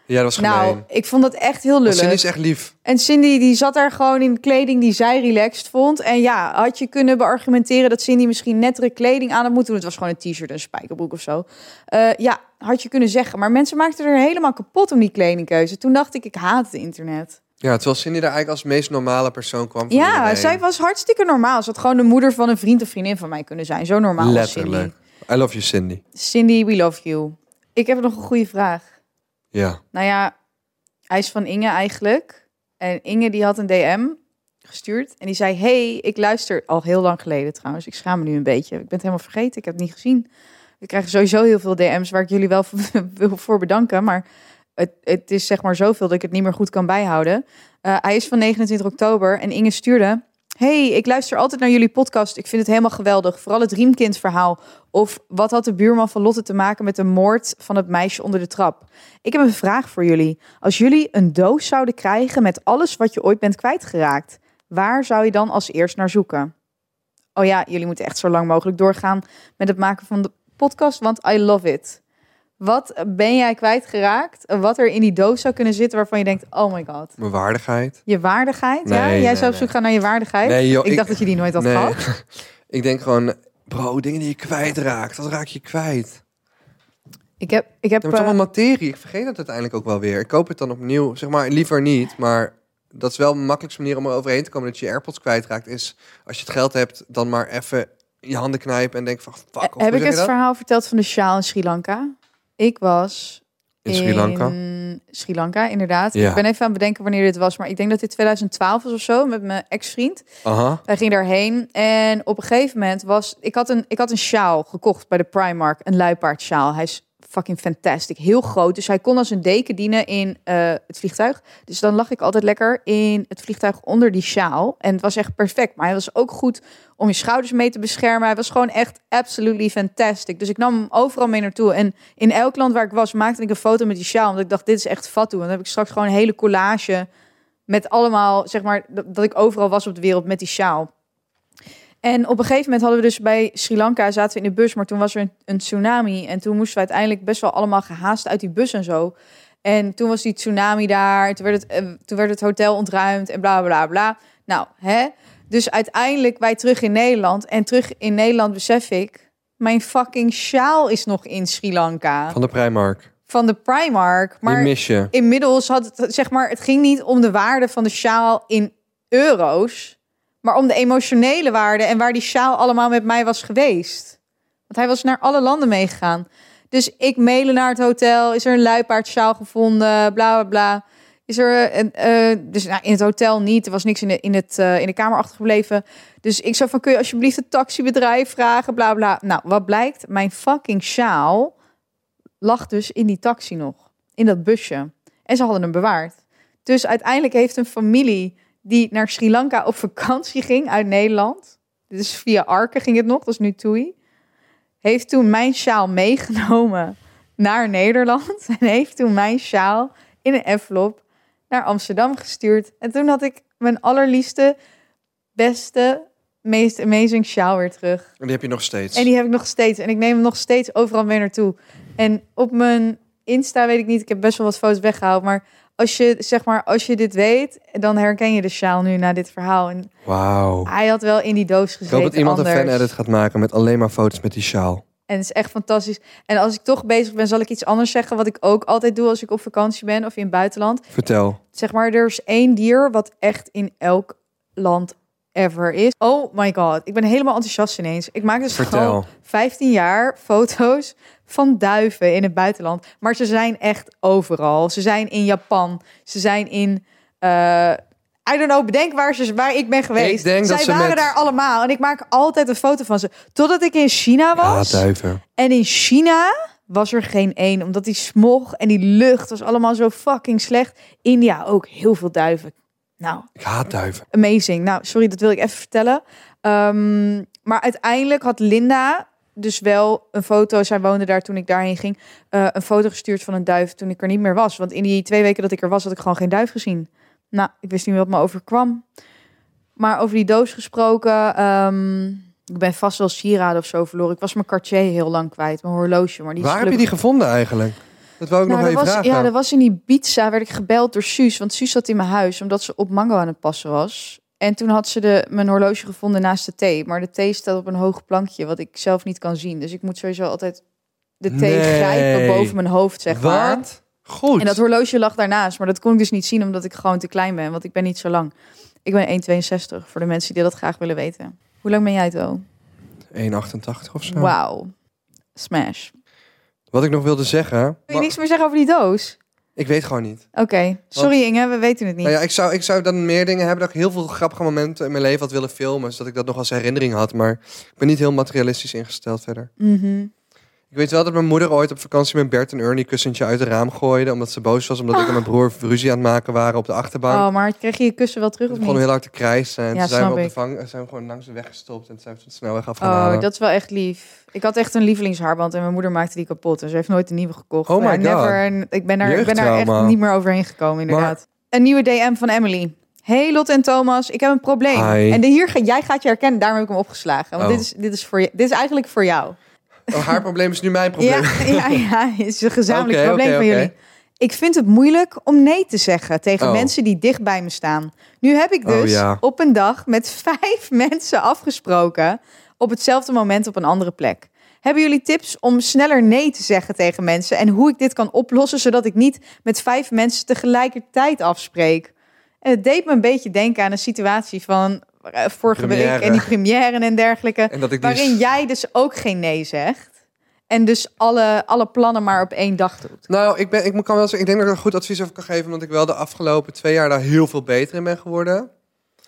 Speaker 1: Ja, dat was gemeen.
Speaker 2: Nou, ik vond dat echt heel
Speaker 1: Want
Speaker 2: lullig.
Speaker 1: Cindy is echt lief.
Speaker 2: En Cindy die zat daar gewoon in kleding die zij relaxed vond. En ja, had je kunnen beargumenteren dat Cindy misschien nettere kleding aan had moeten doen. Het was gewoon een t-shirt en een spijkerbroek of zo. Eh, ja, had je kunnen zeggen. Maar mensen maakten er helemaal kapot om die kledingkeuze. Toen dacht ik, ik haat het internet.
Speaker 1: Ja, terwijl Cindy daar eigenlijk als meest normale persoon kwam. Van
Speaker 2: Ja,
Speaker 1: iedereen.
Speaker 2: zij was hartstikke normaal. Ze had gewoon de moeder van een vriend of vriendin van mij kunnen zijn. Zo normaal was
Speaker 1: Letterlijk. I love you, Cindy.
Speaker 2: Cindy. Cindy, we love you. Ik heb nog een goede vraag.
Speaker 1: Ja.
Speaker 2: Nou ja, hij is van Inge eigenlijk. En Inge die had een DM gestuurd. En die zei, hey, ik luister al heel lang geleden trouwens. Ik schaam me nu een beetje. Ik ben het helemaal vergeten. Ik heb het niet gezien. We krijgen sowieso heel veel DM's waar ik jullie wel <laughs> wil voor bedanken. Maar het, het is zeg maar zoveel dat ik het niet meer goed kan bijhouden. Eh, hij is van 29 oktober en Inge stuurde... Hey, ik luister altijd naar jullie podcast. Ik vind het helemaal geweldig. Vooral het Riemkind-verhaal. Of wat had de buurman van Lotte te maken met de moord van het meisje onder de trap? Ik heb een vraag voor jullie. Als jullie een doos zouden krijgen met alles wat je ooit bent kwijtgeraakt, waar zou je dan als eerst naar zoeken? Oh ja, jullie moeten echt zo lang mogelijk doorgaan met het maken van de podcast, want I love it. Wat ben jij kwijtgeraakt? Wat er in die doos zou kunnen zitten waarvan je denkt, oh my god.
Speaker 1: Mijn waardigheid.
Speaker 2: Je waardigheid, ja?
Speaker 1: Nee,
Speaker 2: Jij
Speaker 1: nee,
Speaker 2: zou op zoek
Speaker 1: nee.
Speaker 2: gaan naar je waardigheid?
Speaker 1: Nee, joh,
Speaker 2: ik,
Speaker 1: ik-
Speaker 2: dacht dat je die nooit had gehad.
Speaker 1: <laughs> ik denk gewoon, bro, dingen die je kwijtraakt. Dat raak je kwijt.
Speaker 2: Ik heb, ik heb
Speaker 1: Ja, maar het is
Speaker 2: eh,
Speaker 1: allemaal materie. Ik vergeet het uiteindelijk ook wel weer. Ik koop het dan opnieuw. Zeg maar, liever niet. Maar dat is wel de makkelijkste manier om er overheen te komen dat je je AirPods kwijtraakt. Is als je het geld hebt, dan maar even in je handen knijpen en denk van, fuck. of hoe
Speaker 2: Eh, heb ik
Speaker 1: zeg je
Speaker 2: het
Speaker 1: dat?
Speaker 2: verhaal verteld van de sjaal in Sri Lanka? Ik was
Speaker 1: In Sri Lanka.
Speaker 2: In Sri Lanka, inderdaad.
Speaker 1: Ja.
Speaker 2: Ik ben even aan het bedenken wanneer dit was, maar ik denk dat dit 2012 was of zo met mijn ex-vriend.
Speaker 1: Aha.
Speaker 2: Wij gingen daarheen en op een gegeven moment was ik had een ik had een sjaal gekocht bij de Primark, een luipaardsjaal. Hij is fucking fantastic, heel groot. Dus hij kon als een deken dienen in eh, het vliegtuig. Dus dan lag ik altijd lekker in het vliegtuig onder die sjaal en het was echt perfect. Maar hij was ook goed om je schouders mee te beschermen. Hij was gewoon echt absolutely fantastic. Dus ik nam hem overal mee naartoe en in elk land waar ik was maakte ik een foto met die sjaal, want ik dacht dit is echt fatu. En dan heb ik straks gewoon een hele collage met allemaal, zeg maar, dat, dat ik overal was op de wereld met die sjaal. En op een gegeven moment hadden we dus bij Sri Lanka zaten we in de bus, maar toen was er een, een tsunami. En toen moesten we uiteindelijk best wel allemaal gehaast uit die bus en zo. En toen was die tsunami daar, toen werd het, eh, toen werd het hotel ontruimd en bla bla bla. Nou, hè? Dus uiteindelijk wij terug in Nederland. En terug in Nederland besef ik, mijn fucking sjaal is nog in Sri Lanka.
Speaker 1: Van de Primark.
Speaker 2: Van de Primark. Maar
Speaker 1: die mis je.
Speaker 2: inmiddels had het, zeg maar, het ging niet om de waarde van de sjaal in euro's, maar om de emotionele waarde en waar die sjaal allemaal met mij was geweest. Want hij was naar alle landen meegegaan. Dus ik mailen naar het hotel, is er een luipaardsjaal gevonden, bla bla bla. Is er een, eh, dus nou, in het hotel niet, er was niks in de, in, het, eh, in de kamer achtergebleven. Dus ik zou van, kun je alsjeblieft het taxibedrijf vragen, bla bla. Nou, wat blijkt? Mijn fucking sjaal lag dus in die taxi nog, in dat busje. En ze hadden hem bewaard. Dus uiteindelijk heeft een familie die naar Sri Lanka op vakantie ging uit Nederland, dus via Arken ging het nog, dat is nu Toei, heeft toen mijn sjaal meegenomen naar Nederland <laughs> en heeft toen mijn sjaal in een envelop naar Amsterdam gestuurd. En toen had ik mijn allerliefste, beste, meest amazing sjaal weer terug.
Speaker 1: En die heb je nog steeds.
Speaker 2: En die heb ik nog steeds. En ik neem hem nog steeds overal mee naartoe. En op mijn Insta weet ik niet. Ik heb best wel wat foto's weggehaald. Maar als je, zeg maar, als je dit weet, dan herken je de sjaal nu na dit verhaal. En
Speaker 1: Wauw.
Speaker 2: hij had wel in die doos
Speaker 1: Ik
Speaker 2: gezeten.
Speaker 1: hoop dat iemand
Speaker 2: anders.
Speaker 1: een fan-edit gaat maken met alleen maar foto's met die sjaal.
Speaker 2: En het is echt fantastisch. En als ik toch bezig ben, zal ik iets anders zeggen. Wat ik ook altijd doe als ik op vakantie ben of in het buitenland.
Speaker 1: Vertel.
Speaker 2: Zeg maar, er is één dier wat echt in elk land ever is. Oh my god, ik ben helemaal enthousiast ineens. Ik maak dus
Speaker 1: Vertel.
Speaker 2: gewoon 15 jaar foto's van duiven in het buitenland. Maar ze zijn echt overal. Ze zijn in Japan. Ze zijn in... eh I don't know, bedenk waar, ze, waar ik ben geweest.
Speaker 1: Ik denk
Speaker 2: Zij
Speaker 1: dat ze
Speaker 2: waren
Speaker 1: met-
Speaker 2: daar allemaal. En ik maak altijd een foto van ze. Totdat ik in China
Speaker 1: Ja,
Speaker 2: was.
Speaker 1: duiven.
Speaker 2: En in China was er geen één, omdat die smog en die lucht was allemaal zo fucking slecht. India ook heel veel duiven. Nou,
Speaker 1: Ik haat duiven.
Speaker 2: amazing. Nou, sorry, dat wil ik even vertellen. Ehm, maar uiteindelijk had Linda dus wel een foto. Zij woonde daar toen ik daarheen ging. eh, een foto gestuurd van een duif toen ik er niet meer was. Want in die twee weken dat ik er was, had ik gewoon geen duif gezien. Nou, ik wist niet wat me overkwam. Maar over die doos gesproken. ehm, ik ben vast wel sieraden of zo verloren. Ik was mijn Cartier heel lang kwijt, mijn horloge. Maar die is
Speaker 1: Waar heb je die
Speaker 2: gelukkig-
Speaker 1: gevonden eigenlijk? Dat wou ik nog
Speaker 2: nou,
Speaker 1: even
Speaker 2: dat was,
Speaker 1: vragen.
Speaker 2: ja, dat was in Ibiza, werd ik gebeld door Suus. Want Suus zat in mijn huis, omdat ze op mango aan het passen was. En toen had ze de, mijn horloge gevonden naast de thee. Maar de thee staat op een hoog plankje, wat ik zelf niet kan zien. Dus ik moet sowieso altijd de thee
Speaker 1: Nee.
Speaker 2: grijpen boven mijn hoofd, zeg maar.
Speaker 1: Wat? Goed.
Speaker 2: En dat horloge lag daarnaast. Maar dat kon ik dus niet zien, omdat ik gewoon te klein ben. Want ik ben niet zo lang. Ik ben 1,62, voor de mensen die dat graag willen weten. Hoe lang ben jij het wel?
Speaker 1: 1,88 of zo.
Speaker 2: Wauw. Smash.
Speaker 1: Wat ik nog wilde zeggen.
Speaker 2: Wil je niks meer zeggen over die doos?
Speaker 1: Ik weet gewoon niet.
Speaker 2: Oké, sorry Inge, we weten het niet.
Speaker 1: Nou ja, ik, zou, ik zou dan meer dingen hebben dat ik heel veel grappige momenten in mijn leven had willen filmen. Zodat ik dat nog als herinnering had. Maar ik ben niet heel materialistisch ingesteld verder.
Speaker 2: Mhm.
Speaker 1: Ik weet wel dat mijn moeder ooit op vakantie met Bert en Ernie kussentje uit het raam gooide. Omdat ze boos was. Omdat
Speaker 2: <gasps>
Speaker 1: ik en mijn broer ruzie aan het maken waren op de achterbank.
Speaker 2: Oh, maar kreeg je je kussen wel terug of
Speaker 1: Het begon
Speaker 2: niet?
Speaker 1: heel hard te krijsen. En
Speaker 2: Ja,
Speaker 1: toen zijn we,
Speaker 2: snap
Speaker 1: op de
Speaker 2: ik.
Speaker 1: vang, zijn we gewoon langs de weg gestopt. En toen zijn we het snelweg af gaan
Speaker 2: Oh,
Speaker 1: halen.
Speaker 2: dat is wel echt lief. Ik had echt een lievelingshaarband en mijn moeder maakte die kapot. En ze heeft nooit een nieuwe gekocht.
Speaker 1: Oh my
Speaker 2: Ja,
Speaker 1: God.
Speaker 2: never. En Ik ben daar, ik ben daar echt
Speaker 1: Jeugdtrauma.
Speaker 2: niet meer overheen gekomen, inderdaad. Een nieuwe DM van Emily. Hey Lot en Thomas, ik heb een probleem.
Speaker 1: Hi.
Speaker 2: En de, hier, ga- jij gaat je herkennen, daarom heb ik hem opgeslagen. Want
Speaker 1: Oh.
Speaker 2: dit, is, dit, is voor, je- dit is eigenlijk voor jou.
Speaker 1: Oh, haar probleem is nu mijn
Speaker 2: <laughs>
Speaker 1: probleem.
Speaker 2: Ja, ja, ja, het is een gezamenlijk
Speaker 1: Oké,
Speaker 2: probleem
Speaker 1: oké,
Speaker 2: van
Speaker 1: oké.
Speaker 2: jullie. Ik vind het moeilijk om nee te zeggen tegen
Speaker 1: Oh.
Speaker 2: mensen die dicht bij me staan. Nu heb ik
Speaker 1: Oh,
Speaker 2: dus
Speaker 1: ja.
Speaker 2: op een dag met <laughs> vijf mensen afgesproken op hetzelfde moment op een andere plek. Hebben jullie tips om sneller nee te zeggen tegen mensen en hoe ik dit kan oplossen zodat ik niet met vijf mensen tegelijkertijd afspreek? En het deed me een beetje denken aan een situatie van eh, vorige week
Speaker 1: Première.
Speaker 2: en die première en dergelijke.
Speaker 1: En dat ik die
Speaker 2: Waarin jij dus ook geen nee zegt. En dus alle, alle plannen maar op één dag doet.
Speaker 1: Nou, ik, ben, ik moet- kan wel zeggen, ik denk dat ik er goed advies over kan geven. Omdat ik wel de afgelopen twee jaar daar heel veel beter in ben geworden.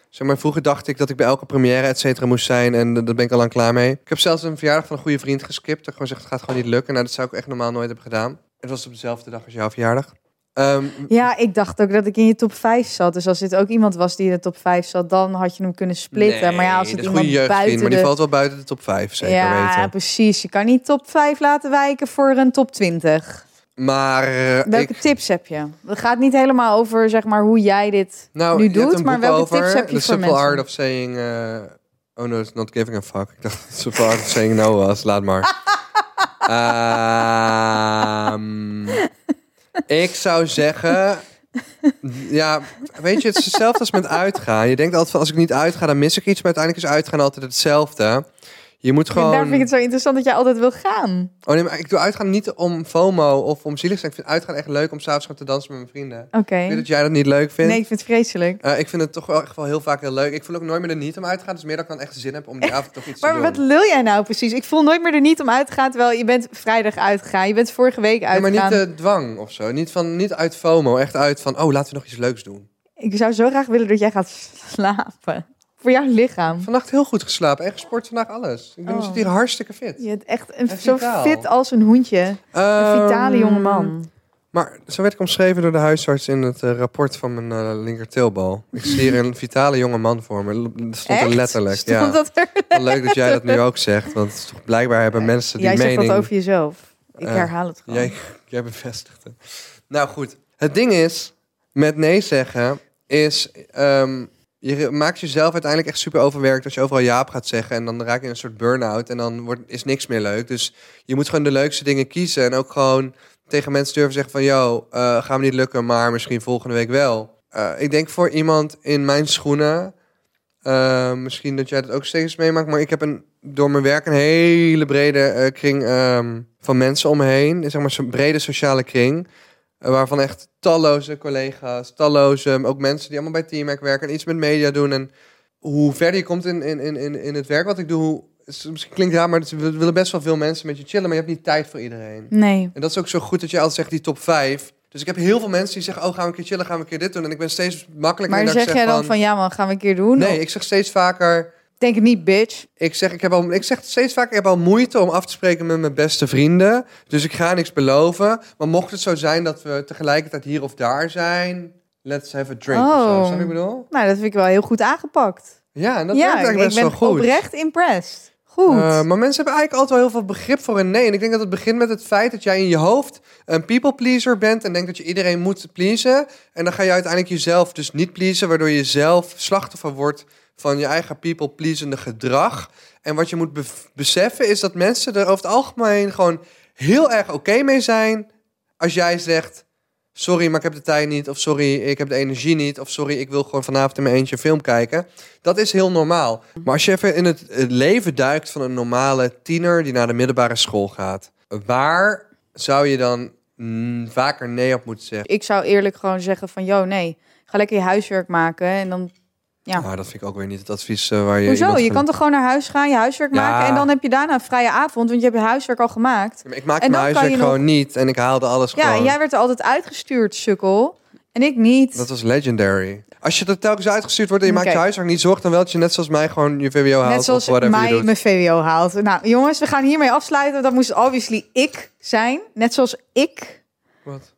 Speaker 1: Zeg maar, vroeger dacht ik dat ik bij elke première et cetera moest zijn. En dat daar ben ik al lang klaar mee. Ik heb zelfs een verjaardag van een goede vriend geskipt. Dat ik gewoon zeg, het gaat gewoon niet lukken. Nou, dat zou ik echt normaal nooit hebben gedaan. Het was op dezelfde dag als jouw verjaardag. Ehm,
Speaker 2: Ja, ik dacht ook dat ik in je top 5 zat. Dus als dit ook iemand was die in de top 5 zat, dan had je hem kunnen splitten. maar ja, als
Speaker 1: nee,
Speaker 2: het
Speaker 1: dat is goede
Speaker 2: iemand
Speaker 1: jeugdvriend,
Speaker 2: buiten
Speaker 1: Maar
Speaker 2: de...
Speaker 1: die valt wel buiten de top 5, zeker
Speaker 2: ja,
Speaker 1: weten.
Speaker 2: precies. Je kan niet top 5 laten wijken voor een top 20.
Speaker 1: Maar eh,
Speaker 2: Welke
Speaker 1: ik,
Speaker 2: tips heb je? Het gaat niet helemaal over zeg maar, hoe jij dit
Speaker 1: nou,
Speaker 2: nu
Speaker 1: je hebt
Speaker 2: doet,
Speaker 1: een
Speaker 2: maar
Speaker 1: boek
Speaker 2: welke
Speaker 1: over,
Speaker 2: tips heb
Speaker 1: The
Speaker 2: je voor
Speaker 1: Simple
Speaker 2: mensen?
Speaker 1: Art of Saying... eh, oh no, it's not giving a fuck. Ik dacht dat het Simple Art of Saying No was. Laat maar.
Speaker 2: <laughs>
Speaker 1: Ehm, ik zou zeggen... Ja, weet je, het is hetzelfde als met uitgaan. Je denkt altijd van, als ik niet uitga, dan mis ik iets. Maar uiteindelijk is uitgaan altijd hetzelfde. Je moet
Speaker 2: En
Speaker 1: gewoon...
Speaker 2: daar vind ik het zo interessant dat jij altijd wil gaan.
Speaker 1: Oh nee, maar ik doe uitgaan niet om FOMO of om zielig te zijn. Ik vind uitgaan echt leuk om s'avonds gewoon te dansen met mijn vrienden.
Speaker 2: Oké.
Speaker 1: Ik weet dat jij dat niet leuk vindt.
Speaker 2: Nee, ik vind het vreselijk.
Speaker 1: Eh, ik vind het toch wel echt wel heel vaak heel leuk. Ik voel ook nooit meer er niet om uit te gaan. Dus meer dat ik dan echt zin heb om die avond toch iets te
Speaker 2: Maar
Speaker 1: doen.
Speaker 2: wat lul jij nou precies? Ik voel nooit meer er niet om uit te gaan, terwijl je bent vrijdag uitgegaan. Je bent vorige week
Speaker 1: Nee, maar
Speaker 2: uitgegaan.
Speaker 1: niet de dwang of zo. Niet, van, niet uit FOMO. Echt uit van, oh, laten we nog iets leuks doen.
Speaker 2: Ik zou zo graag willen dat jij gaat slapen. Voor jouw lichaam.
Speaker 1: Vannacht heel goed geslapen. En gesport vandaag alles. Ik ben
Speaker 2: Oh.
Speaker 1: zit hier hartstikke fit.
Speaker 2: Je bent echt een,
Speaker 1: En
Speaker 2: zo
Speaker 1: vitaal.
Speaker 2: fit als een hoentje. Een
Speaker 1: Ehm,
Speaker 2: vitale jongeman.
Speaker 1: Maar zo werd ik omschreven door de huisarts in het eh, rapport van mijn eh, linkerteelbal. Ik zie hier een vitale jonge man voor me. Dat stond er
Speaker 2: Echt?
Speaker 1: letterlijk. ja.
Speaker 2: Stond dat er?
Speaker 1: Wel leuk dat jij dat nu ook zegt, want het is toch blijkbaar hebben mensen die
Speaker 2: Jij zegt
Speaker 1: mening.
Speaker 2: dat over jezelf. Ik
Speaker 1: Eh,
Speaker 2: herhaal het gewoon.
Speaker 1: jij, jij bevestigt het. Nou goed, het ding is met nee zeggen is ehm, je maakt jezelf uiteindelijk echt super overwerkt als je overal ja op gaat zeggen en dan raak je in een soort burn-out en dan wordt, is niks meer leuk. Dus je moet gewoon de leukste dingen kiezen en ook gewoon tegen mensen durven zeggen van yo, eh gaan we niet lukken, maar misschien volgende week wel. Eh, ik denk voor iemand in mijn schoenen, eh, misschien dat jij dat ook steeds meemaakt, maar ik heb een door mijn werk een hele brede eh, kring ehm, van mensen om me heen. Zeg maar zo'n brede sociale kring. eh, waarvan echt talloze collega's, talloze, ehm, ook mensen die allemaal bij Teamwork werken en iets met media doen. En hoe verder je komt in, in, in, in- in het werk wat ik doe, hoe- is- misschien klinkt het raar, maar het- we willen best wel veel mensen met je chillen, maar je hebt niet tijd voor iedereen.
Speaker 2: Nee.
Speaker 1: En dat is ook zo goed dat je altijd zegt die top 5. Dus ik heb heel veel mensen die zeggen, oh, gaan we een keer chillen, gaan we een keer dit doen. En ik ben steeds makkelijker.
Speaker 2: Maar
Speaker 1: in dat
Speaker 2: zeg
Speaker 1: ik
Speaker 2: jij dan van, ja man, gaan we een keer doen?
Speaker 1: Nee, ik zeg steeds vaker...
Speaker 2: Of- Denk het niet, bitch.
Speaker 1: Ik zeg, ik, heb al, ik zeg steeds vaker, ik heb al moeite om af te spreken met mijn beste vrienden. Dus ik ga niks beloven. Maar mocht het zo zijn dat we tegelijkertijd hier of daar zijn... Let's have a drink of zo.
Speaker 2: Oh.
Speaker 1: Snap je wat ik bedoel?
Speaker 2: Nou, dat vind ik wel heel goed aangepakt.
Speaker 1: Ja, en dat
Speaker 2: ja,
Speaker 1: werkt eigenlijk
Speaker 2: ik
Speaker 1: best
Speaker 2: ben
Speaker 1: wel goed.
Speaker 2: oprecht impressed. Goed.
Speaker 1: Eh, maar mensen hebben eigenlijk altijd wel heel veel begrip voor een nee. En ik denk dat het begint met het feit dat jij in je hoofd een people pleaser bent en denkt dat je iedereen moet pleasen. En dan ga je uiteindelijk jezelf dus niet pleasen, waardoor je zelf slachtoffer wordt van je eigen people pleasende gedrag. En wat je moet be- beseffen is dat mensen er over het algemeen gewoon heel erg oké mee zijn als jij zegt. Sorry, maar ik heb de tijd niet. Of sorry, ik heb de energie niet. Of sorry, ik wil gewoon vanavond in mijn eentje een film kijken. Dat is heel normaal. Maar als je even in het het leven duikt van een normale tiener die naar de middelbare school gaat, waar zou je dan mm, vaker nee op moeten zeggen?
Speaker 2: Ik zou eerlijk gewoon zeggen van, joh, nee. Ga lekker je huiswerk maken en dan... Ja.
Speaker 1: Maar Ah, dat vind ik ook weer niet het advies eh, waar je.
Speaker 2: Hoezo?
Speaker 1: iemand
Speaker 2: Je
Speaker 1: van-
Speaker 2: kan toch gewoon naar huis gaan, je huiswerk
Speaker 1: Ja.
Speaker 2: maken... en dan heb je daarna een vrije avond, want je hebt je huiswerk al gemaakt.
Speaker 1: Ja, maar Ik maakte
Speaker 2: en
Speaker 1: mijn
Speaker 2: dan kan
Speaker 1: huiswerk
Speaker 2: je
Speaker 1: gewoon niet en ik haalde alles
Speaker 2: Ja, en
Speaker 1: gewoon.
Speaker 2: jij werd er altijd uitgestuurd, sukkel. En ik niet.
Speaker 1: Dat was legendary. Als je er telkens uitgestuurd wordt en je maakt
Speaker 2: Oké.
Speaker 1: je huiswerk niet, zorg dan wel dat je net zoals mij gewoon je VWO haalt
Speaker 2: Net zoals
Speaker 1: of whatever je
Speaker 2: mij
Speaker 1: doet.
Speaker 2: mijn VWO haalt. Nou, jongens, we gaan hiermee afsluiten. Dat moest obviously ik zijn. Net zoals ik.
Speaker 1: Wat?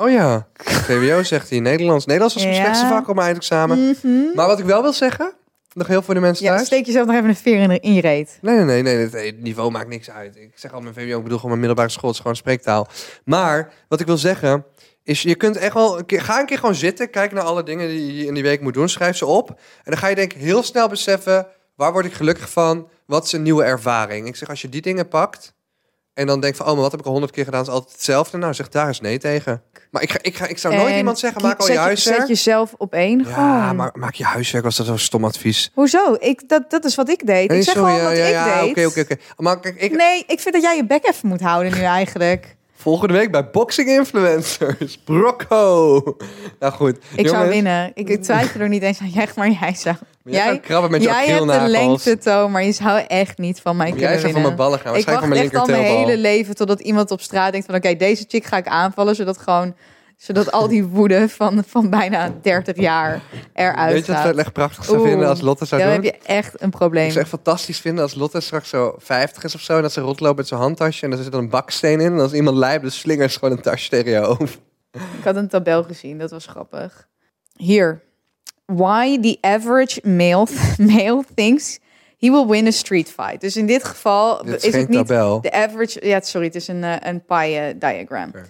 Speaker 1: Oh ja, VWO zegt hij. Nederlands. Nederlands was mijn
Speaker 2: Ja.
Speaker 1: slechtste vak op mijn eindexamen.
Speaker 2: Mhm.
Speaker 1: Maar wat ik wel wil zeggen, nog heel voor de mensen
Speaker 2: Ja,
Speaker 1: thuis.
Speaker 2: steek jezelf nog even een veer in, de- in je reet.
Speaker 1: Nee, nee, nee, nee, het- het niveau maakt niks uit. Ik zeg al mijn VWO, ik bedoel gewoon mijn middelbare school, het is gewoon spreektaal. Maar wat ik wil zeggen is, je kunt echt wel, een keer, ga een keer gewoon zitten, kijk naar alle dingen die je in die week moet doen, schrijf ze op. En dan ga je denk ik heel snel beseffen, waar word ik gelukkig van, wat is een nieuwe ervaring. Ik zeg, als je die dingen pakt en dan denkt van, oh, maar wat heb ik al honderd keer gedaan, is altijd hetzelfde. Nou, zeg daar eens nee tegen. Maar ik, ga, ik, ga, ik zou nooit
Speaker 2: En
Speaker 1: iemand zeggen, maak al je
Speaker 2: zet Oh.
Speaker 1: huiswerk.
Speaker 2: Zet jezelf op één.
Speaker 1: ja,
Speaker 2: gewoon.
Speaker 1: maar maak je huiswerk, was dat zo'n stom advies.
Speaker 2: Hoezo? Ik, dat, dat is wat ik deed.
Speaker 1: Nee,
Speaker 2: ik zeg
Speaker 1: sorry,
Speaker 2: gewoon wat
Speaker 1: ja,
Speaker 2: ik
Speaker 1: ja, ja,
Speaker 2: deed.
Speaker 1: Oké, oké, oké. Maar kijk, ik,
Speaker 2: Nee, ik vind dat jij je bek even moet houden nu eigenlijk.
Speaker 1: <laughs> Volgende week bij Boxing Influencers. <laughs> Brocco. Nou goed.
Speaker 2: Ik zou winnen. Ik twijfel er niet eens aan. Jij, maar jij zou.
Speaker 1: Jij, gaat krabben met je
Speaker 2: jij hebt de
Speaker 1: akrilnagels.
Speaker 2: lengte, Toon, maar je zou echt niet van mij
Speaker 1: Jij
Speaker 2: kunnen
Speaker 1: zou van
Speaker 2: winnen.
Speaker 1: mijn ballen gaan,
Speaker 2: Ik
Speaker 1: waarschijnlijk van mijn
Speaker 2: wacht echt al mijn
Speaker 1: linkerteelbal.
Speaker 2: hele leven totdat iemand op straat denkt van... oké, deze chick ga ik aanvallen, zodat gewoon... zodat al die woede van, van bijna 30 jaar eruit
Speaker 1: Weet je wat
Speaker 2: gaat.
Speaker 1: ik echt prachtig zou
Speaker 2: Oeh.
Speaker 1: vinden als Lotte zou
Speaker 2: Dan
Speaker 1: doen?
Speaker 2: heb je echt een probleem.
Speaker 1: Ik zou echt fantastisch vinden als Lotte straks zo 50 is of zo... en dat ze rondloopt met zijn handtasje en daar zit dan een baksteen in... en als iemand lijpt, dan slingert ze gewoon een tasje tegen je hoofd.
Speaker 2: Ik had een tabel gezien, dat was grappig. Hier. Why the average male, <laughs> male thinks he will win a street fight. Dus in dit geval
Speaker 1: Dit is,
Speaker 2: is
Speaker 1: geen
Speaker 2: het niet...
Speaker 1: tabel.
Speaker 2: De average, ja, sorry, het is een, eh, een pie eh, diagram.
Speaker 1: Oké.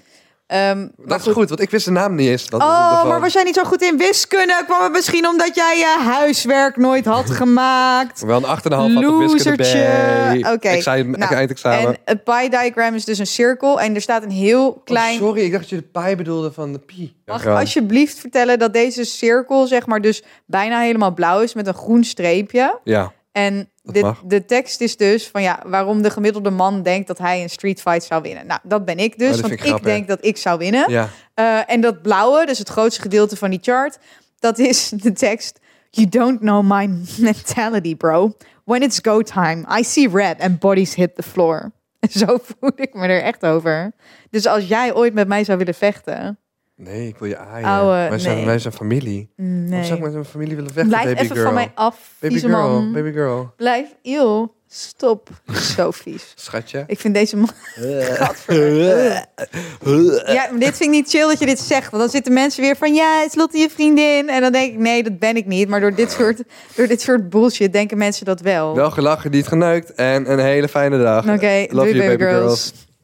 Speaker 2: Ehm, maar
Speaker 1: Dat is goed, want ik wist de naam niet eens. Dat,
Speaker 2: Oh,
Speaker 1: ervan.
Speaker 2: maar was jij niet zo goed in wiskunde? Kwam het misschien omdat jij je huiswerk nooit
Speaker 1: <laughs>
Speaker 2: had gemaakt?
Speaker 1: Wel een 8,5 had op wiskunde
Speaker 2: Losertje.
Speaker 1: bij.
Speaker 2: Oké,
Speaker 1: Examen-
Speaker 2: nou,
Speaker 1: eindexamen.
Speaker 2: En een pie diagram is dus een cirkel en er staat een heel klein...
Speaker 1: Oh, sorry, ik dacht dat je de pi bedoelde van de pi.
Speaker 2: Mag ik
Speaker 1: Ja.
Speaker 2: alsjeblieft vertellen dat deze cirkel zeg maar dus bijna helemaal blauw is met een groen streepje?
Speaker 1: Ja.
Speaker 2: En
Speaker 1: Dat
Speaker 2: de,
Speaker 1: mag.
Speaker 2: de tekst is dus van ja, waarom de gemiddelde man denkt dat hij een street fight zou winnen. Nou, dat ben ik dus,
Speaker 1: Oh, dat
Speaker 2: want
Speaker 1: vind
Speaker 2: ik
Speaker 1: ik grappig.
Speaker 2: denk dat ik zou winnen.
Speaker 1: ja.
Speaker 2: Eh, en dat blauwe, dus het grootste gedeelte van die chart, dat is <laughs> de tekst. You don't know my <laughs> mentality, bro. When it's go time, I see red and bodies hit the floor. <laughs> En zo voel ik me er echt over. Dus als jij ooit met mij zou willen vechten,
Speaker 1: Nee, ik wil je aaien.
Speaker 2: Ouwe,
Speaker 1: wij, zijn,
Speaker 2: nee. Mm,
Speaker 1: wij zijn familie. Waarom
Speaker 2: nee.
Speaker 1: zou ik met een familie willen vechten,
Speaker 2: Blijf
Speaker 1: baby
Speaker 2: even
Speaker 1: girl?
Speaker 2: van mij af,
Speaker 1: baby
Speaker 2: vieze
Speaker 1: girl,
Speaker 2: man.
Speaker 1: baby girl.
Speaker 2: Blijf, eeuw,
Speaker 1: <laughs>
Speaker 2: stop. Zo vies.
Speaker 1: Schatje.
Speaker 2: Ik vind deze man...
Speaker 1: <laughs> Eh.
Speaker 2: Ja, maar dit vind ik niet chill dat je dit zegt. Want dan zitten mensen weer van, ja, het is Lotte je vriendin. En dan denk ik, nee, dat ben ik niet. Maar door dit soort, door dit soort bullshit denken mensen dat wel.
Speaker 1: Wel gelachen, niet geneukt en een hele fijne dag.
Speaker 2: Oké,
Speaker 1: Love
Speaker 2: doei
Speaker 1: you,
Speaker 2: baby
Speaker 1: baby girls.
Speaker 2: girls.